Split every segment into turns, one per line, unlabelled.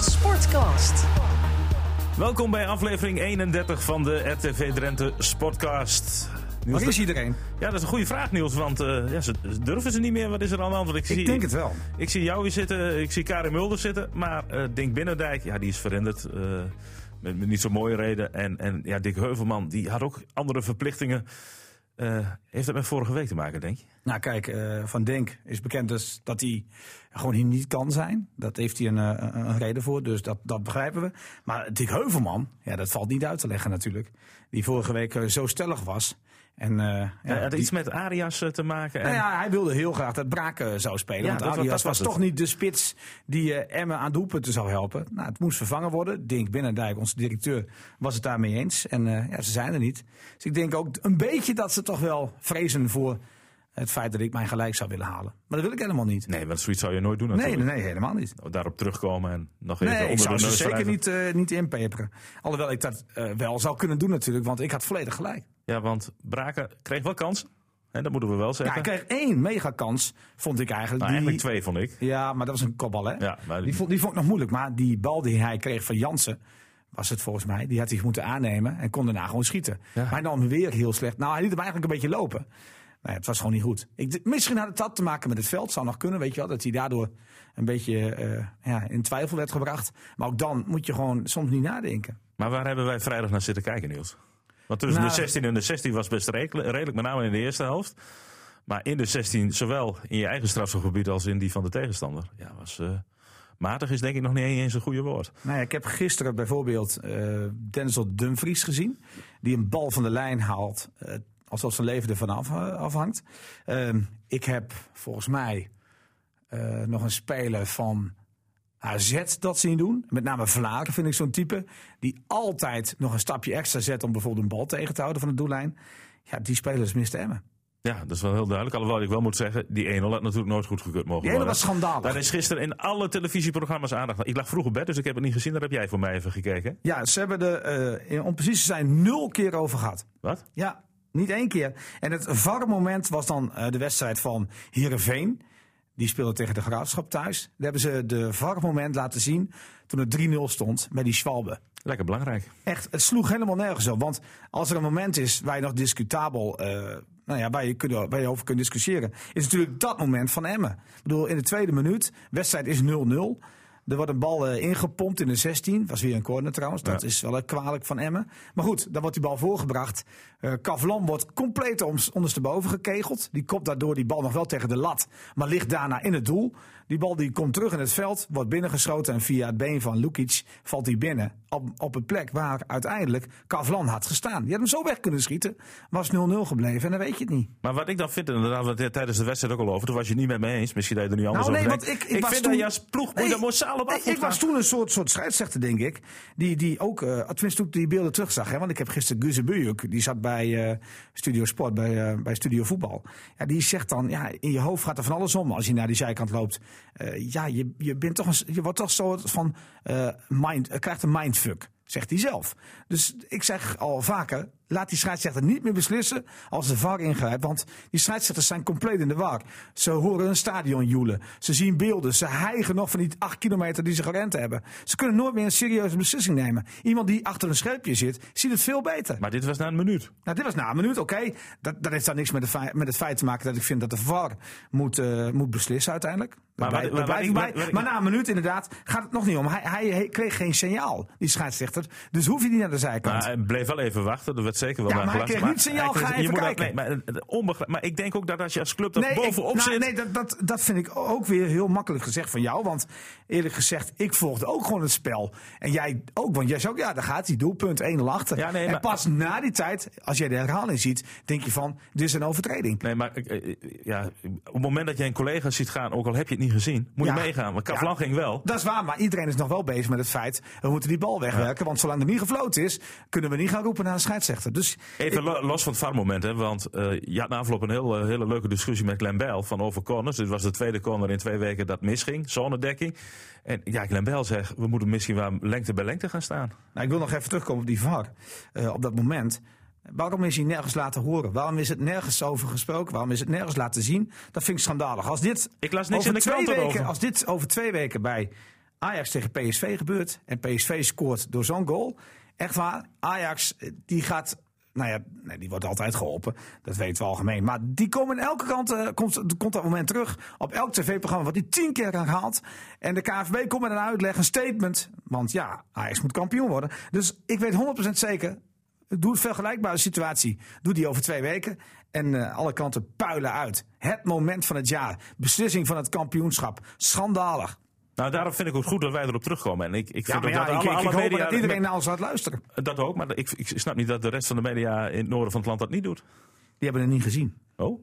Sportcast.
Welkom bij aflevering 31 van de RTV Drenthe Sportcast. Niels,
Waar is iedereen?
Ja, dat is een goede vraag, Niels. Want eh, ja, ze, ze durven ze niet meer. Wat is er aan de hand? Want
Ik denk het wel.
Ik zie jou hier zitten, ik zie Karin Mulder zitten. Maar eh Dink Binnendijk, ja, die is verhinderd. eh, met, met niet zo'n mooie reden. En, en ja, Dick Heuvelman, die had ook andere verplichtingen. Eh, heeft dat met vorige week te maken, denk je?
Nou kijk, eh, Van Denk is bekend dus dat hij gewoon hier niet kan zijn. Dat heeft hij een, eh, een- een reden voor, dus dat, dat begrijpen we. Maar Dick Heuvelman, ja, dat valt niet uit te leggen natuurlijk. Die vorige week eh, zo stellig was. En, eh,
Ja, had
die-
iets met Arias eh, te maken. En,
nou ja, hij wilde heel graag dat Braak eh, zou spelen.
Ja,
want
dat was-
Arias
dat was
was,
het.
toch niet de spits die eh Emmen aan doelpunten zou helpen. Nou, het moest vervangen worden. Dink Binnendijk, onze directeur, was het daarmee eens. En eh, ja, ze zijn er niet. Dus ik denk ook een beetje dat ze toch wel vrezen voor het feit dat ik mijn gelijk zou willen halen. Maar dat wil ik helemaal niet.
Nee, want zoiets zou je nooit doen
Nee,
natuurlijk.
nee, nee, helemaal niet.
Daarop terugkomen en nog even
Nee,
onder
ik zou
de
ze
neus
zeker
wrijven.
niet, eh, niet inpeperen. Alhoewel ik dat eh, wel zou kunnen doen natuurlijk, want ik had volledig gelijk.
Ja, want Braken kreeg wel kans. En dat moeten we wel
Ja,
zeggen.
ik kreeg één megakans, vond ik eigenlijk.
nou,
die-
eigenlijk twee vond ik.
Ja, maar dat was een kopbal, hè?
Ja, maar-
die, vond, die vond ik nog moeilijk. Maar die bal die hij kreeg van Jansen, was het volgens mij. Die had hij moeten aannemen en kon daarna gewoon schieten.
Ja.
Maar hij nam hem weer heel slecht. Nou, hij liet hem eigenlijk een beetje lopen. Nee, het was gewoon niet goed. Ik, d- misschien had het dat te maken met het veld. Zou nog kunnen, weet je wel. Dat hij daardoor een beetje eh, ja, in twijfel werd gebracht. Maar ook dan moet je gewoon soms niet nadenken.
Maar waar hebben wij vrijdag naar zitten kijken, Niels? Want tussen
Nou,
de 16 en de 16 was best redelijk, redelijk, met name in de eerste helft. Maar in de 16, zowel in je eigen strafschopgebied als in die van de tegenstander. Ja, was, eh, matig is denk ik nog niet eens een goede woord.
Nou ja, ik heb gisteren bijvoorbeeld eh Denzel Dumfries gezien. Die een bal van de lijn haalt. eh, alsof zijn leven ervan af, eh, afhangt. Ehm, ik heb volgens mij eh, nog een speler van AZ dat zien doen. Met name Vlaken vind ik zo'n type. Die altijd nog een stapje extra zet om bijvoorbeeld een bal tegen te houden van de doellijn. Ja, die spelers misten Emmen.
Ja, dat is wel heel duidelijk. Alhoewel ik wel moet zeggen, die 1-0 had natuurlijk nooit goedgekeurd mogen
Die hele
worden.
was schandalig.
Daar is gisteren in alle televisieprogramma's aandacht aan. Ik lag vroeg op bed, dus ik heb het niet gezien. Daar heb jij voor mij even gekeken.
Ja, ze hebben er, eh, om precies te zijn, nul keer over gehad.
Wat?
Ja, niet één keer. En het varre moment was dan eh, de wedstrijd van Heerenveen. Die speelde tegen de Graafschap thuis. Daar hebben ze de varre moment laten zien toen het 3-0 stond met die Schwalbe.
Lekker belangrijk.
Echt, het sloeg helemaal nergens op. Want als er een moment is waar je nog discutabel, eh, nou ja, waar je, kunt, waar je over kunt discussiëren, is natuurlijk dat moment van Emmen. Ik bedoel, in de tweede minuut, wedstrijd is 0-0. Er wordt een bal eh, ingepompt in de 16. Was weer een corner trouwens. Dat
Ja.
is wel eh, kwalijk van Emmen. Maar goed, dan wordt die bal voorgebracht. Eh Kavlan wordt compleet om- ondersteboven gekegeld. Die kopt daardoor die bal nog wel tegen de lat. Maar ligt daarna in het doel. Die bal die komt terug in het veld. Wordt binnengeschoten. En via het been van Lukic valt hij binnen. Op, op een plek waar uiteindelijk Kavlan had gestaan. Die had hem zo weg kunnen schieten. Was 0-0 gebleven. En dan weet je het niet.
Maar wat ik dan vind, inderdaad, want tijdens de wedstrijd ook al over, toen was je het niet met me eens. Misschien dat je er nu anders
Nou, nee,
over
want
denkt.
ik, ik, was
vind
toen,
dat je als ploeg moet
Nee,
je daar massaal op
nee,
af moet
Ik was
gaan.
toen een soort, soort scheidsrechter, denk ik. Die, die ook, eh tenminste toen ik die beelden terugzag. Hè, want ik heb gisteren Guze Bujuk, die zat bij eh, Studio Sport, bij, eh, bij Studio Voetbal. Ja, die zegt dan, ja, in je hoofd gaat er van alles om als je naar die zijkant loopt. Eh, ja, je, je, bent toch een, s- je wordt toch soort van, eh, mind, eh, krijgt een mindfuck. Zegt hij zelf. Dus ik zeg al vaker: laat die scheidsrechter niet meer beslissen als de VAR ingrijpt. Want die scheidsrechters zijn compleet in de war. Ze horen een stadion joelen. Ze zien beelden. Ze hijgen nog van die acht kilometer die ze gerend hebben. Ze kunnen nooit meer een serieuze beslissing nemen. Iemand die achter een schermpje zit, ziet het veel beter.
Maar dit was na een minuut.
Nou, dit was na een minuut, oké. Dat, dat heeft dan niks met, de fe- met het feit te maken dat ik vind dat de VAR moet, eh, moet beslissen uiteindelijk.
Maar
Maar,
wat- wat- wat-
bij.
wat- wat-
maar na een minuut inderdaad gaat het nog niet om. Hij, hij, hij kreeg geen signaal, die scheidsrechter. Dus hoef je niet naar de zijkant.
Maar hij bleef wel even wachten, er werd zeker wel
Ja,
naar
maar hij
geluisterd.
kreeg niet signaal,
hij kreeg-
ga even
je moet dat-
kijken.
nee, maar, eh, onbegrijp- maar ik denk ook dat als je als club daar
ik-
bovenop
nou,
zit...
Nee, dat, dat, dat vind ik ook weer heel makkelijk gezegd van jou. Want eerlijk gezegd, ik volgde ook gewoon het spel. En jij ook, want jij zei ook, ja, daar gaat die doelpunt 1-0 achter.
Ja, nee,
en
maar-
pas na die tijd, als jij de herhaling ziet, denk je van, dit is een overtreding.
Nee, maar eh, eh, ja, op het moment dat je een collega ziet gaan, ook al heb je het niet gezien, moet je
Ja.
meegaan. Maar Kavlan
Ja.
ging wel.
Dat is waar, maar iedereen is nog wel bezig met het feit. We moeten die bal wegwerken. Want zolang er niet gefloten is, kunnen we niet gaan roepen naar een scheidsrechter. Dus
Even lo- los van het VAR-moment, hè, want eh, je had na afloop een heel, eh, hele leuke discussie met Glenn Bell van over corners. Dit was de tweede corner in twee weken dat misging, zonedekking. En ja, Glenn Bell zegt, we moeten misschien wel lengte bij lengte gaan staan.
Nou, ik wil nog even terugkomen op die VAR. eh, op dat moment. Waarom is hij nergens laten horen? Waarom is het nergens over gesproken? Waarom is het nergens laten zien? Dat vind ik schandalig. Als dit
Ik las niks
over
in de
twee
krant
weken,
erover.
Als dit over twee weken bij Ajax tegen PSV gebeurt. En PSV scoort door zo'n goal. Echt waar, Ajax eh, die gaat. Nou ja, nee, die wordt altijd geholpen. Dat weten we algemeen. Maar die komen aan elke kant. eh, komt, komt dat moment terug. Op elk tv-programma wordt die tien keer herhaald. En de KVB komt met een uitleg, een statement. Want ja, Ajax moet kampioen worden. Dus ik weet 100% zeker. Doe een vergelijkbare situatie. Doe die over twee weken. En eh, alle kanten puilen uit. Het moment van het jaar. Beslissing van het kampioenschap. Schandalig.
Nou, daarom vind ik het goed dat wij erop terugkomen. En ik, ik vind
Ja, maar
ook
ja,
dat
ik,
alle,
ik, ik
alle
hoop
media...
dat iedereen naar ons gaat luisteren.
Dat ook, maar ik, ik snap niet dat de rest van de media in het noorden van het land dat niet doet.
Die hebben het niet gezien.
Oh?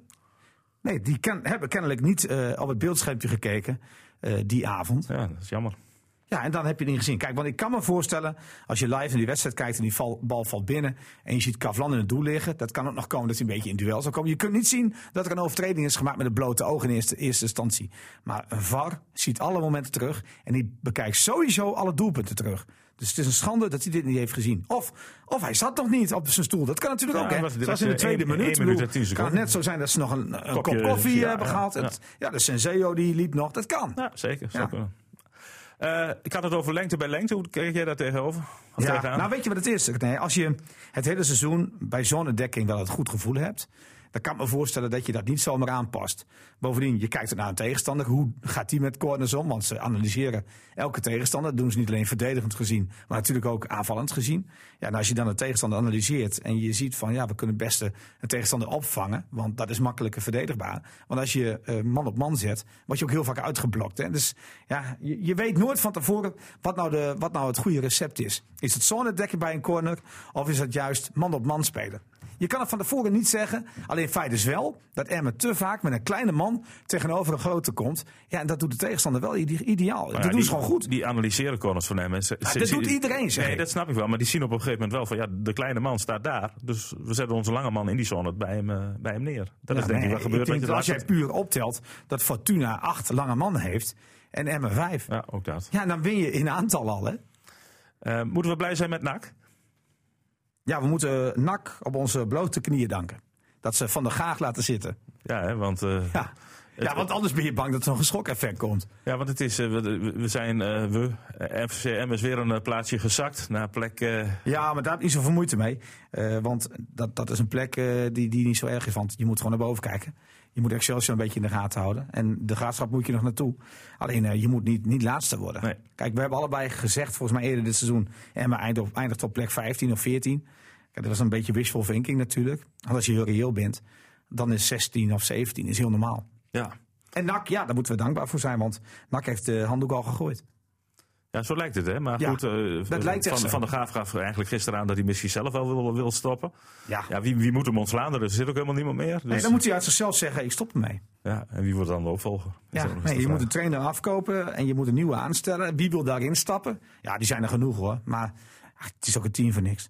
Nee, die ken- hebben kennelijk niet eh, op het beeldschermpje gekeken eh, die avond.
Ja, dat is jammer.
Ja, en dan heb je het niet gezien. Kijk, want ik kan me voorstellen, als je live in die wedstrijd kijkt en die val- bal valt binnen en je ziet Kavlan in het doel liggen, dat kan ook nog komen dat hij een beetje in duel zal komen. Je kunt niet zien dat er een overtreding is gemaakt met het blote oog in eerste, eerste instantie. Maar een VAR ziet alle momenten terug en die bekijkt sowieso alle doelpunten terug. Dus het is een schande dat hij dit niet heeft gezien. Of, of hij zat nog niet op zijn stoel. Dat kan natuurlijk
Ja,
ook. Hè?
dat was- dat
Zoals
was,
in de
eh,
tweede
één-
minuut.
één
Ik
minuut en
bedoel,
tien
kan het
seconden.
net zo zijn dat ze nog een, een
Kopje,
kop koffie
ja,
hebben
ja,
gehaald.
ja.
Het- Ja, de Senseo die liep nog. Dat kan.
Ja, zeker. zou
Ja.
kunnen. Eh, ik had het over lengte bij lengte. Hoe keek jij daar tegenover? Of
Ja,
tegenaan?
nou weet je wat het is? Nee, als je het hele seizoen bij zonnedekking wel het goed gevoel hebt, dan kan ik me voorstellen dat je dat niet zomaar aanpast. Bovendien, je kijkt naar een tegenstander. Hoe gaat die met corners om? Want ze analyseren elke tegenstander. Dat doen ze niet alleen verdedigend gezien, maar natuurlijk ook aanvallend gezien. Ja, en als je dan een tegenstander analyseert en je ziet van ja, we kunnen het beste een tegenstander opvangen, want dat is makkelijker verdedigbaar. Want als je eh, man op man zet, word je ook heel vaak uitgeblokt. Hè? Dus ja, je, je weet nooit van tevoren wat nou, de, wat nou het goede recept is. Is het zone dekken bij een corner of is dat juist man op man spelen? Je kan het van tevoren niet zeggen. Alleen feit is wel dat Emmen te vaak met een kleine man tegenover een grote komt. Ja, en dat doet de tegenstander wel ide- ideaal.
Maar
dat
ja,
doen
die-
ze gewoon goed. Ah,
Die analyseren corners van hem. En ze- ze-
dat
ze-
doet iedereen, zeg
Nee,
ik.
dat snap ik wel. Maar die zien op een gegeven moment wel van... ja, de kleine man staat daar. Dus we zetten onze lange man in die zone bij hem, eh, bij hem neer. Dat is denk
Ja,
ik
maar
wat gebeurt.
Ah, ik denk
want
dat als
je
jij
laat
puur optelt dat Fortuna acht lange mannen heeft en Emmen vijf.
het- Ja, ook dat.
Ja, dan win je in aantal al, hè?
Eh, moeten we blij zijn met NAC?
Ja, we moeten eh, NAC op onze blote knieën danken. Dat ze Van der Gaag laten zitten.
Ja, hè, want... eh,
Ja, ja want anders ben je bang dat er nog een schok-effect komt.
Ja, want het is, eh, we, we zijn, eh, we, eh, FCM is weer een eh, plaatsje gezakt naar plek... eh,
Ja, maar daar heb ik niet zoveel moeite mee. Eh, want dat, dat is een plek eh, die, die niet zo erg is. Want je moet gewoon naar boven kijken. Je moet Excelsior een beetje in de gaten houden. En de graafschap moet je nog naartoe. Alleen eh, je moet niet, niet laatste worden.
Nee.
Kijk, we hebben allebei gezegd, volgens mij eerder dit seizoen. Emma eindigt op, eindigt op plek 15 of 14. Kijk, dat was een beetje wishful thinking natuurlijk. Want als je heel reëel bent, dan is 16 of 17 is heel normaal.
ja.
En NAC, ja, daar moeten we dankbaar voor zijn. Want NAC heeft de handdoek al gegooid.
ja, zo lijkt het, hè? Maar
Ja,
goed, eh, van,
lijkt echt
van,
zo.
de Graaf gaf eigenlijk gisteren aan dat hij misschien zelf wel wil, wil stoppen.
Ja.
Ja, wie, wie moet hem ontslaan? Er zit ook helemaal niemand meer. Dus,
Nee, dan moet hij uit zichzelf zeggen, ik stop ermee.
ja, en wie wordt dan de opvolger? Dat is
Ja,
ook nog eens
nee,
de
je moet
vraag.
een trainer afkopen en je moet een nieuwe aanstellen. Wie wil daarin stappen? Ja, die zijn er genoeg hoor. Maar ach, het is ook een team voor niks.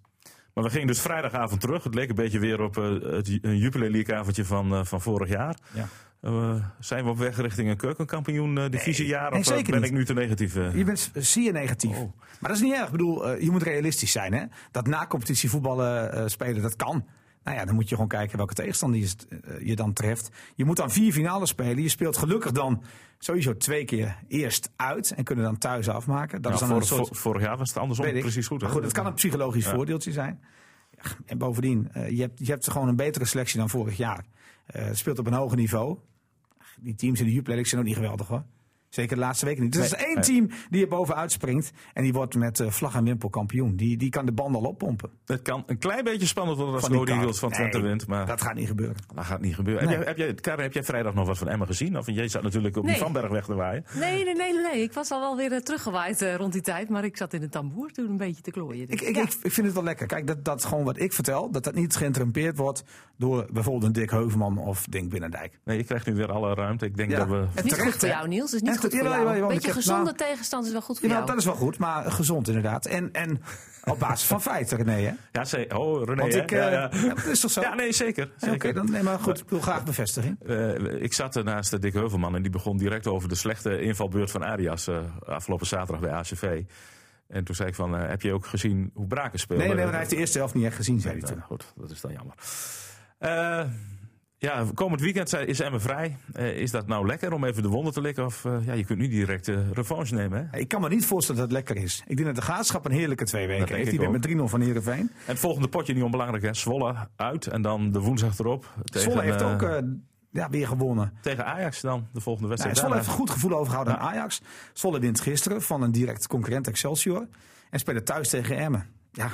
Maar we gingen dus vrijdagavond terug. Het leek een beetje weer op eh, het ju- een Jupiler League avondje van, eh, van vorig jaar.
Ja.
Eh, zijn we op weg richting een keukenkampioen eh, divisiejaar?
nee,
of eh,
zeker
ben
niet.
ik nu te negatief? eh?
Je bent zeer negatief. Maar dat is niet erg. Ik bedoel, eh, je moet realistisch zijn. Hè? Dat na competitie voetballen eh, spelen, dat kan. Nou ja, dan moet je gewoon kijken welke tegenstander je, eh, je dan treft. Je moet dan vier finales spelen. Je speelt gelukkig dan sowieso twee keer eerst uit en kunnen dan thuis afmaken. Dat
Nou,
is dan
vor-
een soort...
vor- vorig jaar was het andersom
Weet ik.
precies goed. hè?
Maar goed, het kan een psychologisch
Ja.
voordeeltje zijn. Ja, En bovendien, eh, je, hebt, je hebt gewoon een betere selectie dan vorig jaar. Eh, Het speelt op een hoger niveau. Ach, Die teams in de Jupiler League zijn ook niet geweldig hoor. Zeker de laatste weken niet. Dus er is één
nee.
team die er bovenuit springt. En die wordt met eh, vlag en wimpel kampioen. Die, die kan de band al oppompen.
Het kan een klein beetje spannend worden als
Van die
Rode
kaart.
Eagles van Twente
Nee,
wint, maar
Dat gaat niet gebeuren.
dat gaat niet gebeuren.
Nee.
Heb, jij, heb, jij, Karin, heb jij vrijdag nog wat van Emma gezien? Of jij zat natuurlijk op die
Nee.
Vanberg weg te waaien.
Nee, nee, nee, nee, nee. Ik was al wel weer eh, teruggewaaid eh, rond die tijd. Maar ik zat in een tamboer toen een beetje te klooien.
Ik,
Dus-
ik,
Ja.
ik, ik vind het wel lekker. Kijk, dat, dat gewoon wat ik vertel, dat dat niet geïnterrumpeerd wordt door bijvoorbeeld een Dick Heuvelman of Dink Binnendijk.
Nee, je krijgt nu weer alle ruimte. Ik denk
Ja.
dat we...
En
niet
terecht,
goed voor
hè?
jou, Niels. Is niet
Echt,
goed voor
jawel,
jou.
jawel, jawel,
beetje
ik heb-
gezonde
nou-
tegenstand is wel goed voor
Ja,
jou.
dat is wel goed, maar gezond inderdaad. En, en op basis van feiten, René. Hè?
Ja, ze... Oh, René,
Want
hè?
ik, eh,
ja,
ja,
ja.
dat is toch zo?
Ja, nee, zeker.
Oké,
zeker.
dan nee, maar goed, ik wil graag bevestiging.
Eh, ik zat er naast eh, Dick Heuvelman en die begon direct over de slechte invalbeurt van Arias eh, afgelopen zaterdag bij ACV. En toen zei ik van, eh, heb je ook gezien hoe Braken speelde?
Nee, nee, maar hij heeft de eerste helft niet echt gezien, zei hij toen.
goed, dat is dan jammer. Eh, Ja, komend weekend zijn- is Emmen vrij. Eh, is dat nou lekker om even de wonden te likken? Of eh, ja, je kunt nu direct eh revanche nemen. Hè?
Ik kan me niet voorstellen dat het lekker is. Ik denk dat de graafschap een heerlijke twee weken
denk
heeft.
ik
Die wint met 3-0 van Heerenveen.
En het volgende potje niet onbelangrijk. Hè? Zwolle uit en dan de woensdag erop. Tegen,
Zwolle heeft
eh,
ook eh, ja, weer gewonnen.
tegen Ajax dan, de volgende
Nou,
wedstrijd.
Zwolle heeft
daarna.
een goed gevoel overgehouden aan Ajax. Zwolle wint gisteren van een direct concurrent Excelsior. En spelen thuis tegen Emmen. Ja,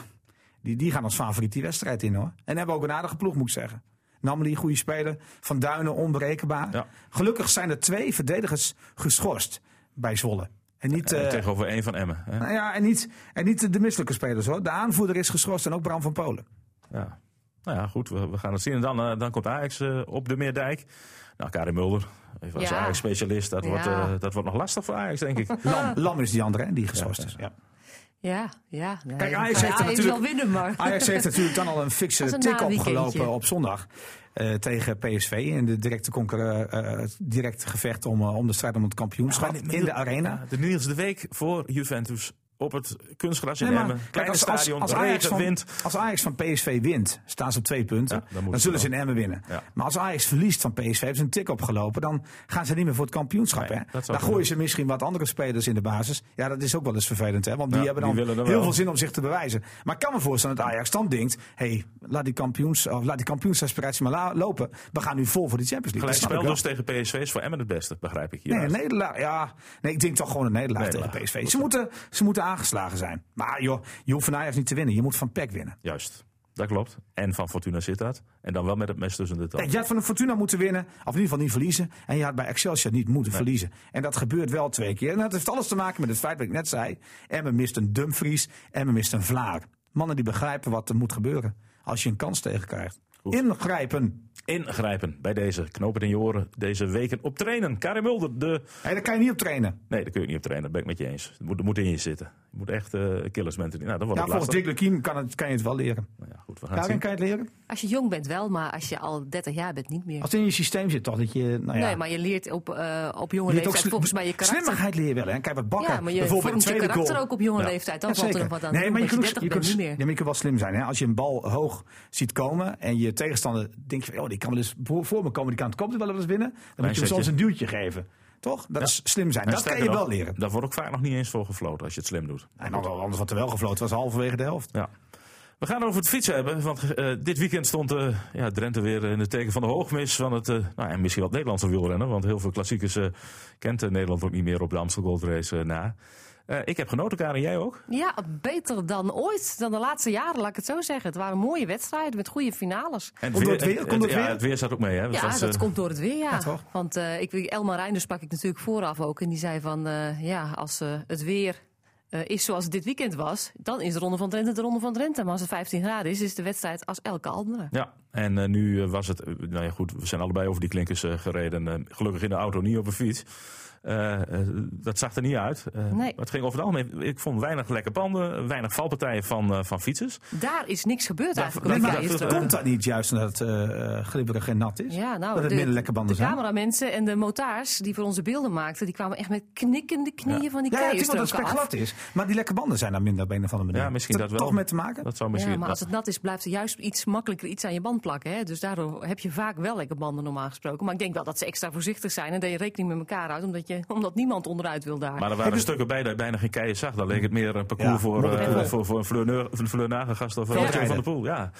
die, die gaan als favoriet die wedstrijd in hoor. En hebben ook een aardige ploeg moet ik zeggen. Namely, goede speler. Van Duinen, onberekenbaar.
Ja.
Gelukkig zijn er twee verdedigers geschorst bij Zwolle. En niet,
Eh,
eh,
tegenover één van Emmen. Hè?
nou ja, en niet, en niet de misselijke spelers hoor. De aanvoerder is geschorst en ook Bram van Polen.
Ja. Nou ja, goed, we, we gaan het zien. En dan, eh, dan komt Ajax eh, op de Meerdijk. Nou, Karim Mulder, even als
Ja.
Ajax-specialist, dat,
Ja.
wordt, eh, dat wordt nog lastig voor Ajax, denk ik.
Lam, Lam is die andere hè, die geschorst is. Ja.
Ja, ja. nee,
Kijk,
dan
Ajax
kan
heeft er natuurlijk-
wel winnen, maar...
Ajax heeft natuurlijk dan al een fikse
Dat is een
tik
naweekendje.
opgelopen op zondag. eh, tegen PSV in de directe, concurre- eh, eh, direct gevecht om, eh, om de strijd om het kampioenschap
Ja, maar dit-
in de arena.
De Niels de Week voor Juventus op het kunstgras in
Nee, maar
Emmen.
kijk,
Kleine
als- als-
stadion,
als Ajax
regen,
van-
wind.
Als Ajax van PSV wint, staan ze op twee punten.
Ja, dan moeten
dan zullen
ze
ze in Emmen winnen.
Ja.
Maar als Ajax verliest van PSV, hebben ze een tik opgelopen. Dan gaan ze niet meer voor het kampioenschap.
Nee,
hè?
dat zou
Dan
kunnen.
gooien ze misschien wat andere spelers in de basis. Ja, dat is ook wel eens vervelend. Hè? Want die
Ja,
hebben
die
dan
willen er
heel
wel.
veel zin om zich te bewijzen. Maar ik kan me voorstellen dat Ajax dan denkt... hey, laat die, kampioens, of laat die kampioensaspiratie maar la- lopen. We gaan nu vol voor die Champions League.
Gelijk
Dat snap ik
spel
wel.
dus tegen PSV is voor Emmen het beste, begrijp ik.
Nee,
hieruit.
een nederlaag. Ja, nee, ik denk toch gewoon een nederlaag tegen
Nederlaag.
PSV. Ze moeten, ze moeten aangeslagen zijn. Maar joh, je hoeft van Ajax niet te winnen. Je moet van PEC winnen.
Juist, dat klopt. En van Fortuna Sittard. En dan wel met het mes tussen de tanden.
Kijk, je had van de Fortuna moeten winnen. Of in ieder geval niet verliezen. En je had bij Excelsior niet moeten verliezen. En dat gebeurt wel twee keer. En dat heeft alles te maken met het feit wat ik net zei. Emmen mist een Dumfries. Emmen mist een Vlaar. Mannen die begrijpen wat er moet gebeuren. Als je een kans tegenkrijgt. Ingrijpen.
Ingrijpen bij deze knopen in je oren deze weken op trainen. Karim Mulder, de...
Hé, daar kan je niet op trainen.
Nee, daar kun je niet op trainen, dat ben ik met je eens. Er moet, er moet in je zitten. Je moet echt eh killers mentally. Nou, dat wordt
Ja,
het
volgens
lastig.
Dick Lukien kan, het- kan je het wel leren.
Nou ja, goed, we gaan het
Daarin
zien.
kan je het leren.
Als je jong bent wel, maar als je al 30 jaar bent niet meer.
Als het in je systeem zit, toch dat je. Nou ja,
Nee, maar je leert op, eh, op jonge
Je hebt
leeftijd
sli-
volgens mij je karakter.
Slimmigheid leer je wel. Hè? Kijk, wat bakken.
ja, maar je
bijvoorbeeld
vormt
de
je
tweede
karakter
goal.
ook op jonge
Ja.
leeftijd. Dat
Ja,
valt er
zeker.
nog wat aan.
nee,
toe,
maar je
omdat
kunt,
je
ook-
30
je,
bent
kunt,
niet
ja,
meer.
maar je kunt wel slim zijn. Hè? Als je een bal hoog ziet komen en je tegenstander denkt van... Oh, die kan wel eens voor voor me komen, die kan het komt wel eens winnen. Dan moet je hem
zetje.
soms een duwtje geven. Toch? Dat is slim zijn.
En
dat kan
sterker
je wel
nog,
leren.
Daar wordt ook vaak nog niet eens voor gefloten als je het slim doet.
En dan- anders wordt er wel gefloten, was halverwege de helft.
Ja. We gaan over het fietsen hebben, want eh, dit weekend stond eh, ja, Drenthe weer in het teken van de hoogmis van het, eh, nou, en misschien wel het Nederlandse wielrennen, want heel veel klassiekers eh, kent eh, Nederland ook niet meer op de Amstel Gold Race eh, na. Eh, ik heb genoten, Karin, jij ook?
Ja, beter dan ooit. Dan de laatste jaren, laat ik het zo zeggen. Het waren mooie wedstrijden met goede finales.
En
Komt door het weer?
en-
Komt door het
ja,
weer?
het weer zat ook mee, hè?
Ja,
was,
dat
eh,
komt door het weer, ja.
ja, toch?
Want eh, ik, weet- Elma Reinders pak ik natuurlijk vooraf ook. En die zei van, eh, ja, als eh, het weer eh, is zoals het dit weekend was... dan is de Ronde van Drenthe de Ronde van Drenthe. Maar als het 15 graden is, is de wedstrijd als elke andere.
Ja, en eh, nu eh, was het. eh, nou ja, goed, we zijn allebei over die klinkers eh, gereden. eh, gelukkig in de auto, niet op een fiets. Eh, eh, dat zag er niet uit. Eh, maar Het ging over het algemeen. Ik vond weinig lekke panden, weinig valpartijen van, eh, van fietsers.
Daar is niks gebeurd eigenlijk.
Nee,
op
dat-
die
maar
dat-
eerste-
dat-
komt dat niet juist omdat het eh, eh, glibberig en nat is?
Ja, nou,
dat het minder lekker banden
de
zijn?
cameramensen en de motaars die voor onze beelden maakten... die kwamen echt met knikkende knieën van die
Ja, ja, het
keien
is wel dat het
stroken
spek
af.
glad is. Maar die lekke banden zijn daar minder op een of andere manier.
Ja, misschien
Heeft
dat wel.
Toch mee te maken?
Dat zou misschien.
Ja, maar als
dat-
het nat is, blijft er juist iets makkelijker iets aan je band plakken. Hè? Dus daardoor heb je vaak wel lekker banden normaal gesproken. Maar ik denk wel dat ze extra voorzichtig zijn en dat je rekening met elkaar houdt, omdat, je, omdat niemand onderuit wil daar.
maar er waren stukken bij dat je bijna geen keien zag. Dan leek het meer een parcours
Ja,
voor, eh,
modderpoelen.
voor, voor een Fleur Neur- een Fleur Nagengast of een
Ja.
Mathieu van der Poel. Ja.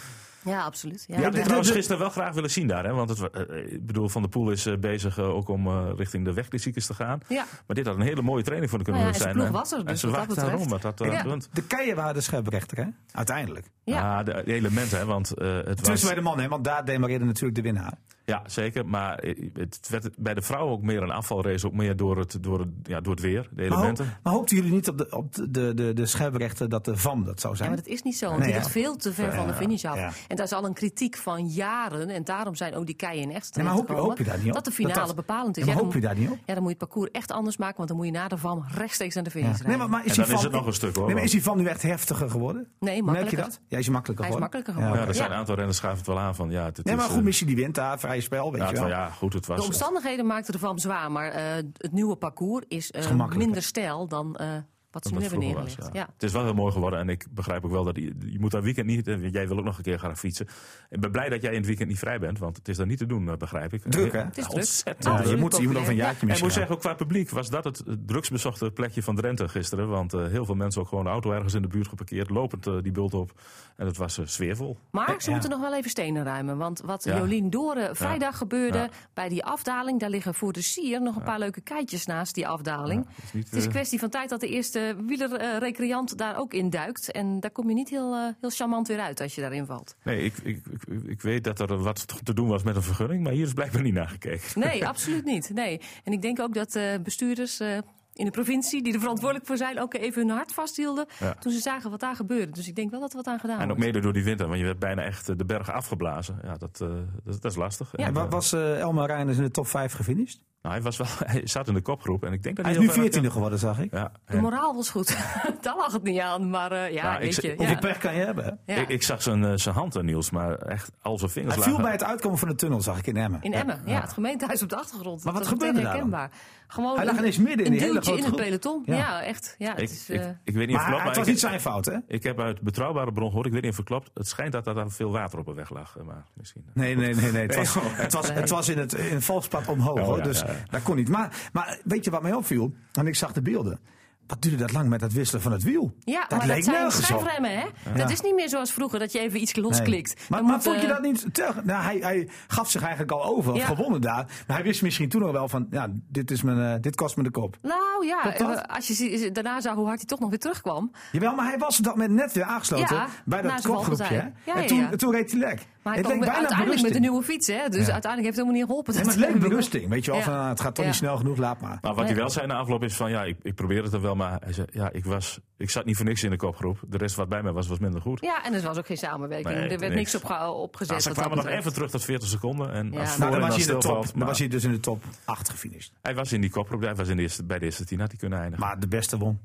ja, absoluut. Ja.
Ja,
Ik had
dit-
het
dit-
trouwens
dit-
gisteren wel graag willen zien daar. Hè? Want het, wa- eh, eh, ik bedoel, Van der Poel is eh, bezig eh, ook om eh, richting de wegklassiekers te gaan.
Ja.
Maar dit had een hele mooie training voor de kunnen
Nou ja, en
zijn.
zijn
hè.
ploeg was er,
en
dus
ze
wat dat
wachten daarom wat
betreft.
dat eh,
Ja.
doet.
De keien waren de scherprechter, hè? Uiteindelijk.
Ja.
Ja, Ah, de, de elementen, hè, want eh, het was...
Tussen bij de mannen, hè, want daar demareerde natuurlijk de winnaar.
Ja, zeker. Maar eh, het werd bij de vrouwen ook meer een afvalrace. Ook meer door het, door het, ja, door het weer,
Oh.
de
Maar,
elementen.
hoop- maar hoopten jullie niet op de, op de, de, de, de scherprechter dat de VAM dat zou
Ja,
zijn?
maar dat is niet zo, want
Nee,
die
ja.
ligt veel te ver van de finish af.
ja.
En dat is al een kritiek van jaren. En daarom zijn ook die keien echt
Nee, maar hoop je-
terechtgekomen.
hoop je daar niet op?
Dat de finale
Dat dat-
bepalend is.
Ja, maar
dan
hoop je
moet-
daar niet op?
Ja, dan moet je het parcours echt anders maken, want dan moet je na de VAM rechtstreeks naar de finish rijden.
Nee, maar, maar is
En
die
dan is
VAM
het nog een stuk, hoor,
Nee, maar
want-
is die VAM nu echt heftiger geworden?
Nee,
Merk je
makkelijker.
dat? Ja, is hij makkelijker
Hij is
geworden?
makkelijker geworden.
ja, er
ja.
zijn een aantal renners schaven het wel aan van... Ja, het, het
Nee,
is,
maar
eh,
goed, missie die wint daar, vrij spel, weet
ja,
je
het
wel.
wel- ja, goed, het
De
was...
omstandigheden maakten ervan zwaar, maar eh, het nieuwe parcours is, eh,
gemakkelijker.
minder stijl dan eh, Wat
dan
ze nu
dat
hebben
vroeger was,
neergelegd.
ja.
Ja.
Het is wel heel mooi geworden en ik begrijp ook wel dat je, je moet dat weekend niet, eh, jij wil ook nog een keer gaan fietsen. Ik ben blij dat jij in het weekend niet vrij bent, want het is dan niet te doen, eh, begrijp ik.
Druk, hè?
Het is druk.
Ontzettend
Ja,
druk.
je,
absoluut
moet, je moet
populair.
over een jaartje
En ik
misschien.
moet zeggen, ook qua publiek was dat het eh, drugsbezochte plekje van Drenthe gisteren. Want eh, heel veel mensen ook gewoon de auto ergens in de buurt geparkeerd, lopend eh, die bult op. En het was eh, sfeervol.
Maar ze
Ja.
moeten nog wel even stenen ruimen. Want wat
Ja.
Jolien Doren vrijdag gebeurde
Ja.
bij die afdaling, daar liggen voor de sier nog een paar leuke keitjes naast die afdaling.
Ja, het is niet,
Het is een
eh,
kwestie van tijd dat de eerste wielerrecreant eh, daar ook in duikt. En daar kom je niet heel, eh, heel charmant weer uit als je daarin valt.
Nee, ik, ik, ik, ik weet dat er wat te doen was met een vergunning, maar hier is blijkbaar niet naar gekeken.
Nee, absoluut niet. Nee. En ik denk ook dat eh, bestuurders eh, in de provincie, die er verantwoordelijk voor zijn, ook even hun hart vasthielden
Ja.
toen ze zagen wat daar gebeurde. Dus ik denk wel dat er wat aan
Nou,
gedaan
En ook
wordt.
mede door die winter, want je werd bijna echt eh, de bergen afgeblazen. Ja, dat, eh, dat, dat is lastig. En,
En wa-
eh,
was eh, Elmar Reinders in de top 5 gefinished?
nou, hij, was wel, hij zat in de kopgroep en ik denk dat
Hij
hij,
is nu
heel ver-
14e geworden, zag ik.
Ja,
De
en-
moraal was goed. daar lag het niet aan. Maar eh, ja,
Nou, ik
weet
zeg-
je.
Hoeveel
ja.
pech kan je hebben? hè?
Ja.
Ik, ik zag zijn, eh, zijn hand, eh, Niels, maar echt al zijn vingers
Hij viel
lagen-
bij het uitkomen van de tunnel, zag ik in Emmen.
In Emmen, ja. het gemeentehuis op de achtergrond.
Maar
Dat
wat
was meteen
gebeurde daar dan?
herkenbaar. Gewoon
Hij
een-
lag ineens midden in
een
die hele
duwtje
grote
in het
groep.
peloton.
Ja.
Ja, echt. Ja, het
Ik,
is,
ik,
eh,
ik weet niet of
Maar
het klopt,
het
maar
was
ik-
niet zijn fout, hè?
Ik heb uit betrouwbare bron gehoord, ik weet niet of het klopt. Het schijnt dat daar dan veel water op de weg lag. eh, Maar misschien.
Nee, nee, nee, nee. Het was, het was, het was in het, in het valspad omhoog.
Oh,
hoor,
ja,
dus
ja, ja.
dat kon niet. Maar, maar weet je wat mij opviel? En ik zag de beelden. Wat duurde dat lang met dat wisselen van het wiel?
ja,
dat
maar
leek
dat zijn
nergens op.
schijfremmen, hè? Dat is niet meer zoals vroeger, dat je even iets
Nee.
losklikt.
Maar,
Dan
maar
moet,
vond je
eh,
dat niet? te- Nou, hij, hij gaf zich eigenlijk al over, of
Ja.
gewonnen daar. Maar hij wist misschien toen nog wel van: ja, dit, is mijn, eh, dit kost me de kop.
Nou ja,
Klopt dat?
eh, als je zie- daarna zag hoe hard hij toch nog weer terugkwam.
Jawel, maar hij was op dat moment net weer aangesloten
Ja,
bij
na
dat
zijn
kopgroepje.
valpartij.
hè?
Ja,
en
ja,
toen,
ja.
toen reed hij lek.
Maar hij
het
kwam
leek
weer
bijna
uiteindelijk met
berusting.
een nieuwe fiets, hè? Dus
Ja.
uiteindelijk heeft het helemaal niet geholpen.
Ja,
Dat
maar het
hij
leek
weer-
berusting. Weet je wel,
Ja.
van, nou, het gaat toch niet
Ja.
snel genoeg, laat maar.
Maar wat hij
Nee.
wel zei na afloop is van ja, ik, ik probeerde het wel, maar hij zei ja, ik, was, ik zat niet voor niks in de kopgroep. De rest wat bij mij was, was minder goed.
Ja, en er was ook geen samenwerking.
Nee,
er werd
niks.
niks op ge-
Nou,
opgezet.
ze
wat dat
kwamen nog
betreft.
even terug tot 40 seconden. En
Ja.
als
Nou,
Nou,
Florian
dan
dan
was, hij in de
stilvalt,
top, dan
maar
was hij dus in de top 8 gefinished.
hij was in die kopgroep, hij was in de eerste, bij de eerste tien, had hij kunnen eindigen.
Maar de beste won.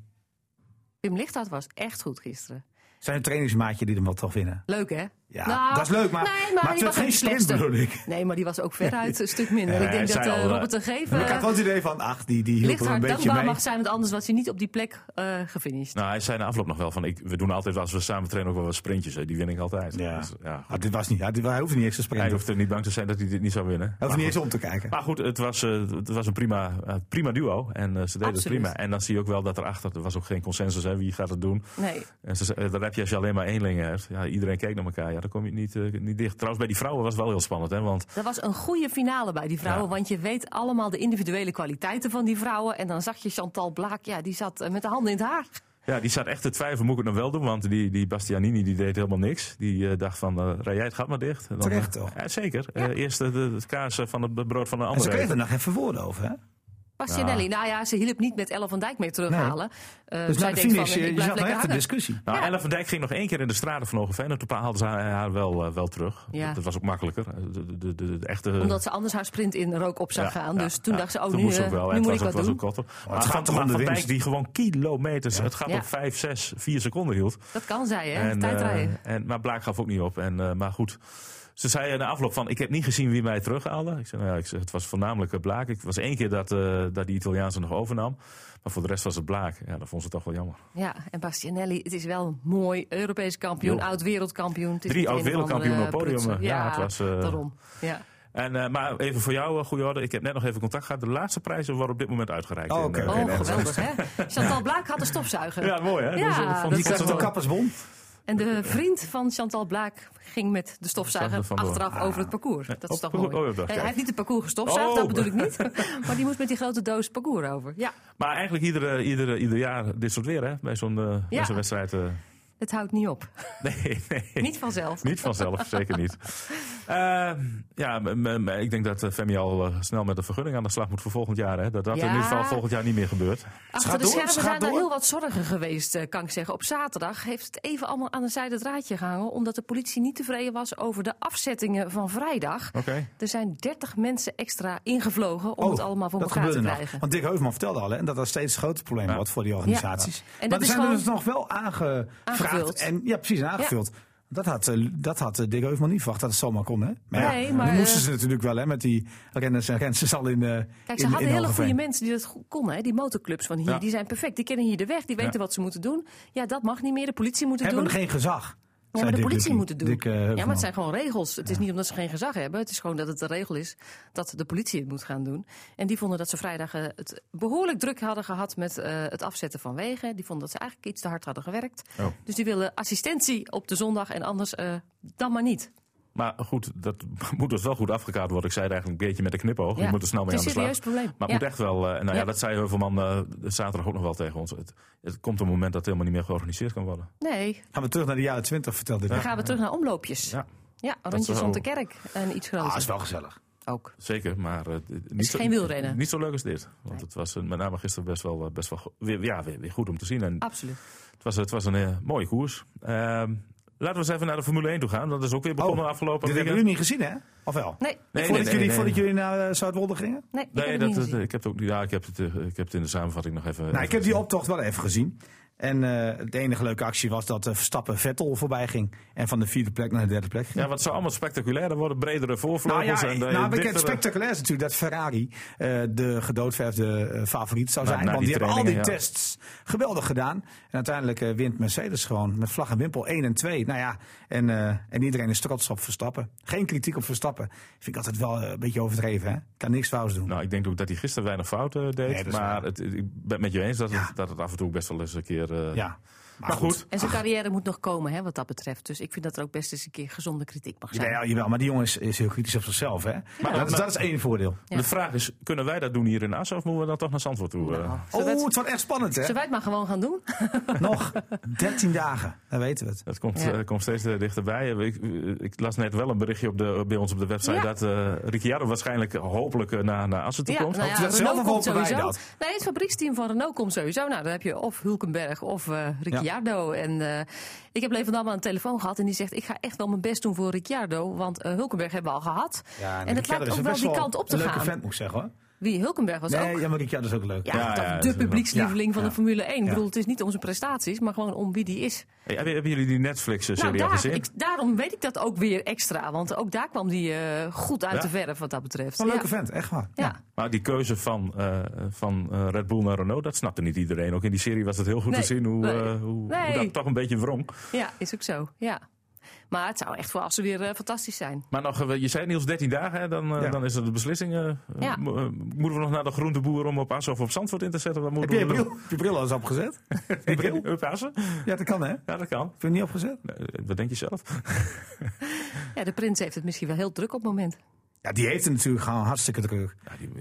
Pim Lichthart was echt goed gisteren.
Zijn trainingsmaatje die hem wel toch winnen.
Leuk, hè?
Ja,
Nou,
dat is leuk, maar,
nee, maar die
maar het werd
was
geen
niet
sprint,
slechtste.
bedoel ik.
Nee, maar die was ook veruit een stuk minder.
Ja,
ik denk
hij
dat
zei
eh,
al, eh,
Robert de
Maar ik had
Geven...
wel het idee van, ach, die, die hielp
Licht
er een
haar
beetje
dankbaar
mee.
mag zijn, want anders was hij niet op die plek eh gefinished.
Nou, hij zei na afloop nog wel van ik, we doen altijd als we samen trainen ook wel wat sprintjes. Hè. Die win ik altijd.
Ja.
Dus, ja, goed.
Ah, dit was niet, hij, hij hoefde niet eens te sprinten.
Hij
Hij hoeft
hoeft er niet bang te zijn dat hij dit niet zou winnen. Maar
niet
goed.
eens om te kijken.
Maar goed, het was, eh, het was een prima, eh, prima duo. En eh, ze deden het
Absoluut.
prima. En dan zie je ook wel dat erachter, er was ook geen consensus, hè, wie gaat het doen.
Nou.
Nee.
En ze, zei, eh, dan heb je als je alleen maar eenlingen hebt. Ja, iedereen keek naar elkaar. Ja, dan kom je niet, eh, niet dicht. Trouwens, bij die vrouwen was het wel heel spannend. Hè, want
Dat was een goede finale bij die vrouwen.
Ja.
Want je weet allemaal de individuele kwaliteiten van die vrouwen. En dan zag je Chantal Blaak, ja, die zat eh, met de handen in het haar.
ja, die zat echt te twijfelen, moet ik het nou wel doen? Want die, die Bastianini die deed helemaal niks. Die eh, dacht van, eh rij jij het gat maar dicht. En Dan,
Terecht,
eh,
toch?
Ja, zeker. Eh, eerst eh, de, het kaas eh, van het brood van de
En ze
andere.
kregen er nog even woorden over, hè? Dus
Bastianelli, nou ja, ze hielp niet met Ellen van Dijk mee terughalen. Eh,
Dus na
zij
de
denkt
finish,
van,
eh,
ik
je
blijf
zag een
lekker
echte
hangen.
discussie.
Nou,
Ja.
Ellen van Dijk ging nog één keer in de straten van Hogeveen. En toen haalden ze haar, haar wel, eh, wel terug.
Ja.
Dat, dat was ook makkelijker. Eh, De, de, de, de- de echte...
Omdat ze anders haar sprint in rook op zou
Ja,
gaan.
ja,
Dus toen
ja.
dacht ze, oh,
Toen
nu,
moest ze ook
eh,
wel. En
nu
het
moet
was
ik
ook-
wat
was
doen.
ook korter. Maar
gaat
van,
toch om
van
de
Dijk
winst?
die gewoon kilometers, het gaat
Ja.
op 5, 6, 4 seconden hield.
Dat kan zij, hè?
en,
Tijdrijden.
eh, en, maar Blaak gaf ook niet op. En, eh, maar goed, ze zei na afloop van, ik heb niet gezien wie mij terughaalde. Ik zei, nou ja, ik zei, het was voornamelijk eh, Blaak. Het was één keer dat, eh, dat die Italiaanse nog overnam. Maar voor de rest was het Blaak. Ja, dat vond ze toch wel jammer.
Ja, en Bastianelli, het is wel mooi. Europees kampioen,
Jo.
oud-wereldkampioen. Het is
Drie
niet een of
oud-wereldkampioenen
andere
op podium,
prutser.
ja, het was, eh,
daarom. Ja.
En, eh, maar even voor jou, eh, goede orde. Ik heb net nog even contact gehad. De laatste prijzen worden op dit moment uitgereikt.
Oh,
in,
oké,
eh,
oké,
Oh,
nee, dat is-
geweldig, hè? Chantal Blaak had een stofzuiger.
Ja, mooi hè?
Oh. Ja,
eh, vond-
dat
vond
Die
is
ze
kreeg
wel-
de
wel-
kappersbon.
En de vriend van Chantal Blaak ging met de stofzuiger
Zag er vandoor.
achteraf over het
Ah.
parcours. Dat
op
is toch
parcours.
mooi.
Oh, ja, dat-
hij
kijk.
heeft niet het parcours gestofzuigd,
Oh.
dat bedoel ik niet. maar die moest met die grote doos parcours over. Ja,
Maar eigenlijk iedere, iedere, ieder jaar dit soort weer, hè? Bij zo'n eh, bij
Ja.
zo'n wedstrijd. eh.
het houdt niet op.
nee, nee.
niet vanzelf.
Niet vanzelf, zeker niet. Eh, ja, m- m- m- ik denk dat eh, Femi al eh, snel met de vergunning aan de slag moet voor volgend jaar. Hè? Dat dat in
Ja.
ieder geval volgend jaar niet meer gebeurt.
Achter
gaat
de
door,
schermen
het gaat
zijn daar
door.
heel wat zorgen geweest, eh, kan ik zeggen. Op zaterdag heeft het even allemaal aan een zijde draadje gehangen... omdat de politie niet tevreden was over de afzettingen van vrijdag.
Oké.
Er zijn 30 mensen extra ingevlogen om
Oh,
het allemaal voor
dat
elkaar te
gebeurde nog.
krijgen.
Want Dick Heuvelman vertelde al hè, dat dat steeds een groter probleem
Ja.
wordt voor die organisaties.
En dat
Maar er
is
zijn er
gewoon
dus nog wel aangevraagd.
aangevuld.
En, ja, precies, en aangevuld. Dat had, eh, dat had eh, Dick Heuvelman niet verwacht dat het zomaar kon. Hè? Maar
Nee,
ja,
maar,
dat moesten
eh,
ze natuurlijk wel hè, met die renners en rensters al in eh
Kijk,
in,
ze hadden
in
hele
Hogeveen.
goede mensen die dat goed konden. Hè? Die motorclubs van hier,
Ja.
die zijn perfect. Die kennen hier de weg, die weten
Ja.
wat ze moeten doen. Ja, dat mag niet meer. De politie moet het
Hebben
doen.
geen gezag.
Ja,
zei
maar de
Dick
politie
Lukien.
moet het doen.
Dick, eh,
ja, maar
Heuvelman.
het zijn gewoon regels. Het is niet omdat ze geen gezag hebben. Het is gewoon dat het de regel is dat de politie het moet gaan doen. En die vonden dat ze vrijdag eh, het behoorlijk druk hadden gehad met eh, het afzetten van wegen. Die vonden dat ze eigenlijk iets te hard hadden gewerkt.
Oh.
Dus die willen assistentie op de zondag en anders eh, dan maar niet.
Maar goed, dat moet dus wel goed afgekaart worden. Ik zei het eigenlijk een beetje met een knipoog.
Ja.
Je moet er snel mee
het
aan
is
de
een
slag.
serieus probleem.
Maar
Ja.
het moet echt wel, eh, nou ja,
Ja.
dat zei Heuvelman eh, zaterdag ook nog wel tegen ons. Het, het komt een moment dat het helemaal niet meer georganiseerd kan worden.
Nee,
Gaan we terug naar de jaren 20, vertelde ik.
dan gaan we terug naar omloopjes. Ja,
Ja.
rondjes
zou-
rond de kerk en iets groter
wel gezellig.
ook.
Zeker, maar eh, niet, zo,
geen wielrennen.
niet zo leuk als dit. Want
Nee.
het was eh, met name gisteren best wel, eh, best wel go- weer, ja, weer, weer goed om te zien. En
Absoluut.
het, was, het was een eh, mooie koers. Ehm, laten we eens even naar de Formule 1 toe gaan. Dat is ook weer begonnen
Oh,
afgelopen
Dit
weekend.
hebben jullie niet gezien, hè? Of wel?
Nee,
Nee,
voordat,
nee,
jullie,
nee.
voordat jullie naar eh, Zuidwolde gingen?
nee, ik
Nee,
heb het
dat,
niet
dat-
gezien.
ik, heb het ook, ja, ik, heb het, eh, ik heb het in de samenvatting nog even.
Nou, ik heb die optocht wel even gezien. En eh de enige leuke actie was dat eh, Verstappen Vettel voorbij ging. En van de vierde plek naar de derde plek ging.
Ja, wat zou allemaal spectaculairder worden? Bredere
Nou
voorvleugels
ja,
en eh,
nou, maar kijk, het
dichtere-
spectaculair is natuurlijk dat Ferrari eh, de gedoodverfde eh, favoriet zou
Na-
zijn.
na
want
die
die hebben al die
trainingen, ja.
tests geweldig gedaan. En uiteindelijk eh, wint Mercedes gewoon met vlag en wimpel 1 en 2. Nou ja, en, eh, en iedereen is trots op Verstappen. Geen kritiek op Verstappen. Vind ik altijd wel eh, een beetje overdreven, hè? Kan niks fouts doen.
Nou, ik denk ook dat hij gisteren weinig fouten eh,
Nee,
deed.
dat is
maar
waar.
het, ik ben het met je eens dat,
Ja.
het, dat het af en toe best wel eens een keer. eh,
ja, maar, goed.
goed.
En zijn carrière moet nog komen, hè, wat dat betreft. Dus ik vind dat er ook best eens een keer gezonde kritiek mag zijn.
Ja, jawel, maar die jongen is, is heel kritisch op zichzelf, hè? dat, is- dat is één voordeel.
Ja.
De vraag is: kunnen wij dat doen hier in Assen of moeten we dan toch naar Zandvoort toe? eh?
Nou,
Oh,
zullen, we het,
het wordt echt spannend, hè?
zullen wij het maar gewoon gaan doen?
Nog 13 dagen, dan weten we het.
Dat komt,
Ja.
eh, komt steeds eh, dichterbij. Eh, Ik, eh, ik las net wel een berichtje op de, bij ons op de website
Ja.
dat eh Ricciardo waarschijnlijk hopelijk eh, naar, naar Assen toe komt.
nou
Hoopt u dat zelf of hopen wij dat?
Nee, het fabrieksteam van Renault komt sowieso. Nou, dan heb je of Hulkenberg of eh, Ricciardo. En eh, ik heb Levan Damme aan de telefoon gehad en die zegt... ik ga echt wel mijn best doen voor Ricciardo, want eh, Hulkenberg hebben we al gehad. en het lijkt ook wel die kant op te
een
gaan.
leuke vent, moet ik zeggen, hoor.
Wie, Hulkenberg was ook...
Nee, ja, maar Ricciardo is ook leuk.
Ja,
Ja,
toch
ja, dat is
de
wel-
publiekslieveling van de
ja.
Formule 1. Ik
Ja.
bedoel, het is niet om zijn prestaties, maar gewoon om wie die is.
Hey, hebben, hebben jullie die Netflix-serie
Nou,
al
daar,
gezien?
ik, daarom weet ik dat ook weer extra. Want ook daar kwam die eh, goed uit
Ja?
de verf wat dat betreft.
Een leuke
ja.
vent, echt waar.
Ja.
Maar Nou, die keuze van, eh, van eh, Red Bull naar Renault, dat snapte niet iedereen. Ook in die serie was het heel goed
Nee,
te zien hoe,
nee,
eh, hoe,
nee.
hoe dat toch een beetje wrong.
Ja, is ook zo. Ja. Maar het zou echt voor als ze weer eh, fantastisch zijn.
Maar nog, eh, je zei Niels, 13 dagen, hè? Dan, eh,
Ja.
dan is er de beslissing. eh,
Ja.
mo- eh, moeten we nog naar de groente boer om op Assen of op Zandvoort in te zetten? Wat
Heb
moeten
je je
we
bril, heb je bril al eens opgezet?
doen? bril? Op Assen?
Ja, dat kan, hè? Heb
Ja, dat kan.
je hem niet opgezet?
Nee, eh, Wat denk je zelf?
Ja, de prins heeft het misschien wel heel druk op het moment.
Ja, die heeft het natuurlijk gewoon hartstikke druk.
Ja, die-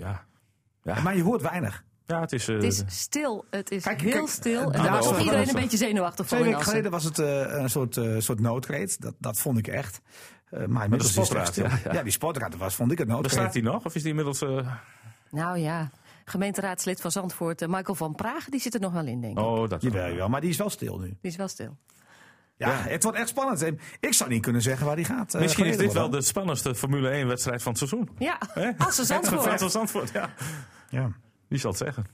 ja.
Maar je hoort weinig.
ja het is... eh,
Het is stil. Het is
Kijk,
heel
kijk,
stil.
eh,
En
daar
daar
is
is
wel-
iedereen
dat
een
is-
beetje zenuwachtig van.
Twee
in
weken
Assen.
geleden was het eh, een soort, eh, soort noodkreet. Dat, dat vond ik echt. Eh, maar inmiddels is het echt stil.
sportraad,
Ja,
ja, ja.
die sportraad was, vond ik het
Bestaat
noodkreet.
die nog? Of is die inmiddels... eh,
Nou ja, gemeenteraadslid van Zandvoort, eh, Michael van Praag, die zit er nog wel in, denk ik.
Oh, dat
Jawel, jawel, maar die is wel stil nu.
Die is wel stil.
Ja, het wordt echt spannend. En ik zou niet kunnen zeggen waar die gaat. eh,
Misschien is dit
gereden
wel
worden.
de spannendste Formule 1-wedstrijd van het seizoen.
Ja,
Hè?
Assen Zandvoort.
Assen Zandvoort, ja.
Ja.
Wie zal het zeggen?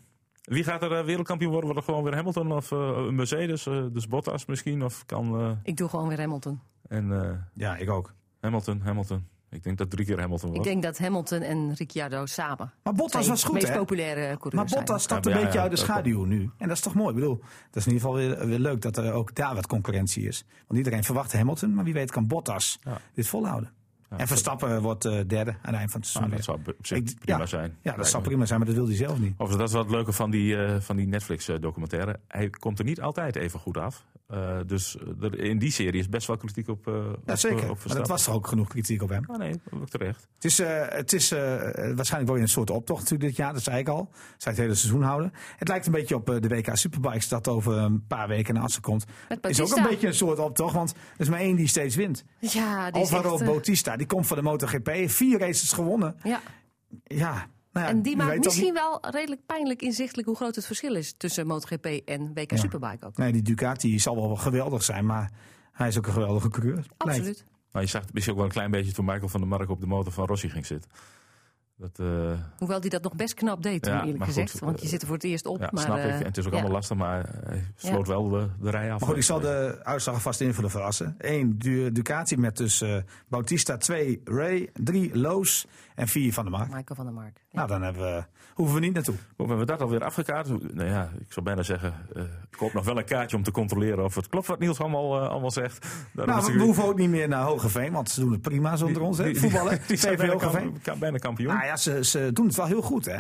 Wie gaat er eh, wereldkampioen worden? Wordt er gewoon weer Hamilton of eh, een Mercedes? eh, dus Bottas misschien? Of kan... eh,
Ik doe gewoon weer Hamilton.
en eh,
ja, ik ook.
Hamilton, Hamilton. Ik denk dat drie keer Hamilton
Ik
wordt.
denk dat Hamilton en Ricciardo samen.
Maar Bottas
twee
was goed,
meest
hè?
populaire eh, coureurs
Maar
zijn.
Bottas stapt
Ja,
een
ja,
beetje
ja,
uit de
dat
schaduw nu. En dat is toch mooi. Ik bedoel, dat is in ieder geval weer, weer leuk dat er ook daar wat concurrentie is. Want iedereen verwacht Hamilton, maar wie weet kan Bottas
Ja.
dit volhouden. en Verstappen wordt eh, derde aan het eind van het
Maar Ah,
seizoen.
dat
weer.
zou op zich
Ik-
prima
ja.
zijn.
Ja, dat
Lijkt
zou
me.
prima zijn, maar dat wil hij zelf niet.
Of dat is wel het leuke van die, eh, van die Netflix-documentaire. Hij komt er niet altijd even goed af. Eh, dus er- in die serie is best wel kritiek op, eh
Ja,
op,
zeker.
eh, op
maar dat
Verstappen.
was er ook genoeg kritiek op hem.
Ah, nee, ook terecht.
Het is, eh, het is eh, waarschijnlijk wel weer een soort optocht natuurlijk dit jaar. Dat zei ik al. Zij het hele seizoen houden. Het lijkt een beetje op eh, de WK Superbikes dat over een paar weken naar Assen komt.
Met
is ook
Bautista.
een beetje een soort optocht, want er is maar één die steeds wint.
Ja, die is
Alvaro
echt, eh,
Bautista, die komt van de MotoGP. Vier races gewonnen.
ja.
Ja. Nou ja,
En die
je
maakt
weet ook
misschien wel redelijk pijnlijk inzichtelijk hoe groot het verschil is tussen MotoGP en WK Superbike ook.
niet- Nee, die Ducati zal wel geweldig zijn, maar hij is ook een geweldige coureur.
Absoluut.
Lijkt.
Nou, je zag het misschien ook wel een klein beetje toen Michael van der Mark op de motor van Rossi ging zitten. Dat, eh,
Hoewel die dat nog best knap deed, toen,
Ja,
eerlijk
maar goed,
gezegd. want je
eh,
zit er voor het eerst op.
ja,
maar,
snap ik.
eh,
En het is ook
ja.
allemaal lastig, maar hij sloot wel de, de rij af.
Maar goed, ik Oh, zal de uitslag vast in willen verrassen. 1 Ducati met dus eh, Bautista, 2 Ray, 3 Loos en 4 Van der Mark.
Michael van der Mark. Ja.
Nou, dan hebben we, hoeven we niet naartoe.
Hoe hebben we dat alweer afgekaart? Hoe- Nou ja, ik zou bijna zeggen, eh, ik koop nog wel een kaartje om te controleren of het klopt wat Niels allemaal, eh, allemaal zegt. Daarom
Nou,
is
we,
hij-
we hoeven ook niet meer naar Hogeveen, want ze doen het prima zonder ons. Hè?
die-
Voetballen,
Die zijn
TV
bijna,
Hogeveen.
kamp- ka- bijna kampioen.
Nou ja, ze, ze doen het wel heel goed, hè.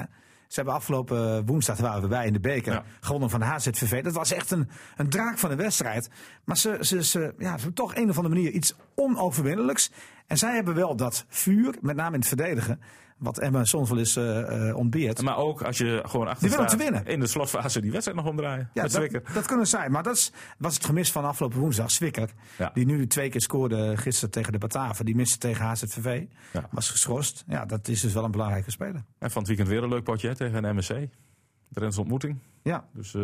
Ze hebben afgelopen woensdag, waren we bij in de beker,
Ja.
gewonnen van de HZVV. Dat was echt een, een draak van een wedstrijd. Maar ze, ze, ze, ja, ze hebben toch een of andere manier iets onoverwinnelijks. En zij hebben wel dat vuur, met name in het verdedigen, wat Emma soms wel eens eh, eh, ontbeert.
Maar ook als je gewoon achter
Die willen
staat,
te winnen.
in de slotfase die wedstrijd nog omdraaien.
Ja,
met
dat,
Zwicker.
dat kunnen zijn. Maar dat is, was het gemis van afgelopen woensdag. Zwikker,
Ja.
die nu twee keer scoorde gisteren tegen de Bataven. Die miste tegen HZVV.
Ja.
Was geschorst. Ja, dat is dus wel een belangrijke speler.
En van het weekend weer een leuk potje hè, tegen een MSC. De Rens ontmoeting.
Ja.
Dus eh,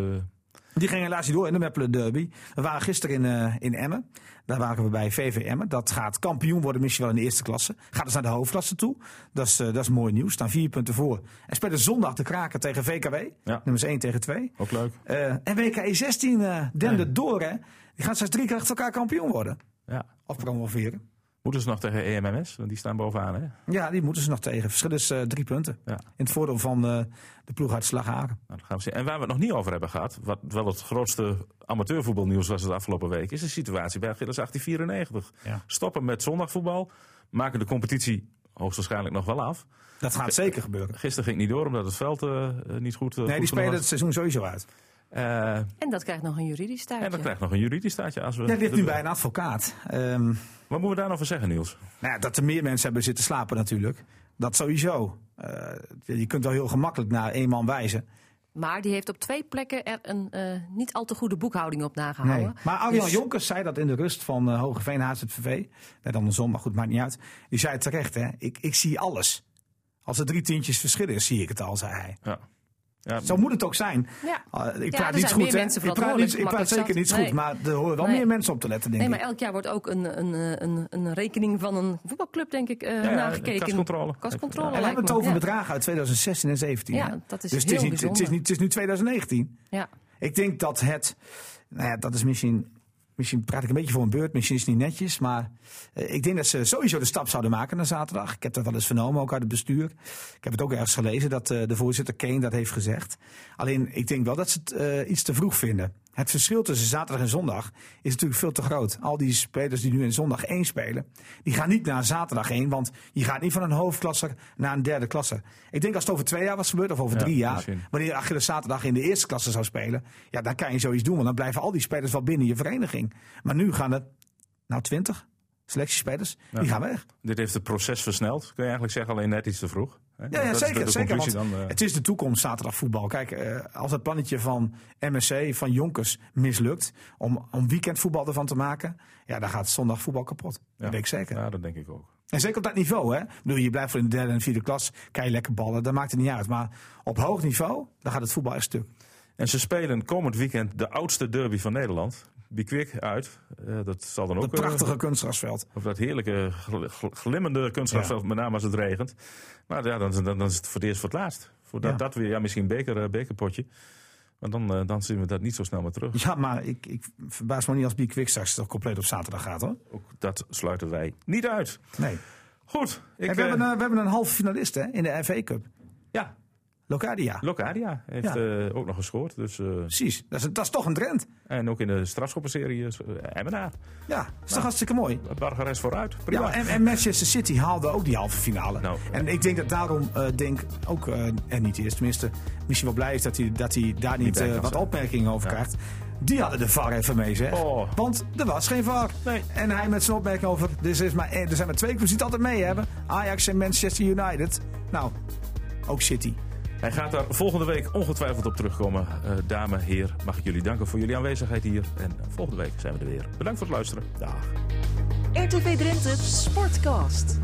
Die ging helaas niet door in de Meppelen Derby. We waren gisteren in, eh, in Emmen. Daar waren we bij VV Emmen. Dat gaat kampioen worden, misschien wel in de eerste klasse. Gaat dus naar de hoofdklasse toe. Dat is, eh, dat is mooi nieuws. Staan vier punten voor. En spelen zondag de kraken tegen VKW.
Ja.
Nummers 1 tegen 2.
ook leuk.
Eh, en WKE 16 eh dende door, hè. Die gaan straks drie keer achter elkaar kampioen worden.
Ja.
Of promoveren.
Moeten ze nog tegen E EMMS? Want die staan bovenaan hè? Nou,
Ja, die moeten ze nog tegen. Verschil is eh, drie punten.
Ja.
In het voordeel van eh, de ploeg uit Slagharen.
Nou, dat gaan we zien. En waar we het nog niet over hebben gehad, wat wel het grootste amateurvoetbalnieuws was de afgelopen week, is de situatie bij Gilles 1894.
Ja.
Stoppen met zondagvoetbal, maken de competitie hoogstwaarschijnlijk nog wel af.
Dat gaat zeker gebeuren.
Gisteren ging het niet door omdat het veld eh, eh, niet goed eh,
Nee, die
goed
spelen
genoeg
het
was.
seizoen sowieso uit.
Eh,
En dat krijgt nog een juridisch taartje.
en dat krijgt nog een juridisch staatje. Als we
Dat ligt nu bij een advocaat. Ehm,
Wat moeten we daar nou van zeggen, Niels?
Nou ja, dat er meer mensen hebben zitten slapen natuurlijk. Dat sowieso. Eh, je kunt wel heel gemakkelijk naar één man wijzen.
Maar die heeft op twee plekken er een eh, niet al te goede boekhouding op nagehouden.
Maar Arjan
Dus-
Jonkers zei dat in de rust van eh, Hogeveen HZVV. Net andersom, maar goed, maakt niet uit. Die zei terecht, hè. Ik, ik zie alles. Als er drie tientjes verschil is, zie ik het al, zei hij.
Ja. Ja,
Zo moet het ook zijn.
Ja.
Eh, ik
er
praat
zijn
niet
meer
goed, hè.
mensen
Ik praat,
verantwoordelijk,
niet, ik praat
makkelijk
zeker
zat.
niet goed,
Nee.
maar er horen wel
Nee.
meer mensen op te letten, denk
Nee, maar
ik.
elk jaar wordt ook een, een, eh, een, een rekening van een voetbalclub, denk ik, eh,
Ja, ja,
nagekeken.
kascontrole.
Kascontrole
En we
lijkt
hebben het
me.
over
ja.
bedragen uit 2016 en 17.
Ja,
hè.
dat is
dus
heel
het, is niet, het, is
bijzonder.
niet, het is nu 2019.
Ja.
Ik denk dat het, nou ja, dat is misschien, misschien praat ik een beetje voor een beurt, misschien is het niet netjes, maar eh, ik denk dat ze sowieso de stap zouden maken na zaterdag. Ik heb dat wel eens vernomen, ook uit het bestuur. Ik heb het ook ergens gelezen dat eh, de voorzitter Kane dat heeft gezegd. Alleen, ik denk wel dat ze het eh, iets te vroeg vinden. Het verschil tussen zaterdag en zondag is natuurlijk veel te groot. Al die spelers die nu in zondag 1 spelen, die gaan niet naar zaterdag 1, want je gaat niet van een hoofdklasser naar een derde klasse. Ik denk als het over twee jaar was gebeurd, of over
Ja,
drie jaar,
misschien.
wanneer Achilles zaterdag in de eerste klasse zou spelen, ja, dan kan je zoiets doen. Want dan blijven al die spelers wel binnen je vereniging. Maar nu gaan er, nou, twintig selectiespelers, die gaan weg.
Dit heeft het proces versneld, kun je eigenlijk zeggen, alleen net iets te vroeg. hè?
Ja, ja
Dat is de-
zeker.
de
zeker want
conclusie dan, eh.
Het is de toekomst zaterdag voetbal. Kijk, eh, als het plannetje van MSC, van Jonkers, mislukt om, om weekendvoetbal ervan te maken, ja, dan gaat zondag voetbal kapot. Dat weet ik zeker.
Ja, dat denk ik ook.
En zeker op dat niveau, hè? Ik bedoel, je blijft voor in de derde en vierde klas, kan je lekker ballen, dat maakt het niet uit. Maar op hoog niveau, dan gaat het voetbal echt stuk.
En ze spelen komend weekend de oudste derby van Nederland. Bikwik uit. Eh, dat zal dan ook...
Dat
eh,
prachtige kunstgrasveld.
Op dat heerlijke, gl- gl- glimmende kunstgrasveld, met name als het regent. Maar ja, dan, dan, dan is het voor het eerst voor het laatst. Voordat
Ja.
dat weer, ja, misschien een beker, eh, bekerpotje. Maar dan, eh, dan zien we dat niet zo snel meer terug.
Ja, maar ik, ik verbaas me niet als Biek Wik straks toch compleet op zaterdag gaat hoor.
Ook dat sluiten wij niet uit.
Nee.
Goed. Ik,
en we,
eh,
hebben een, we hebben een halve finalist hè, in de FA Cup.
ja,
Locadia.
Locadia heeft
Ja.
eh, ook nog gescoord. Dus, eh,
Precies. Dat is, dat is toch een trend.
en ook in de strafschoppenserie is eh, Emmenaar.
Ja, dat is
Nou.
toch hartstikke mooi.
Bargares vooruit. Prima.
Ja, en, en Manchester City haalde ook die halve finale.
Nou.
en ik denk dat daarom eh, Denk ook, eh, en niet eerst, tenminste, misschien wel blij is dat hij, dat hij daar niet
bij
eh,
kan
wat
zijn.
opmerkingen over
Ja.
krijgt. Die hadden de VAR even mee, zeg.
Oh.
Want er was geen VAR.
Nee.
En hij met zijn opmerking over, dus is maar, eh, er zijn maar twee clubs die het altijd mee hebben. Ajax en Manchester United. Nou, ook City.
Hij gaat daar volgende week ongetwijfeld op terugkomen. Eh dame, heer, mag ik jullie danken voor jullie aanwezigheid hier. En eh, volgende week zijn we er weer. Bedankt voor het luisteren. Dag.
RTV Drenthe Sportcast.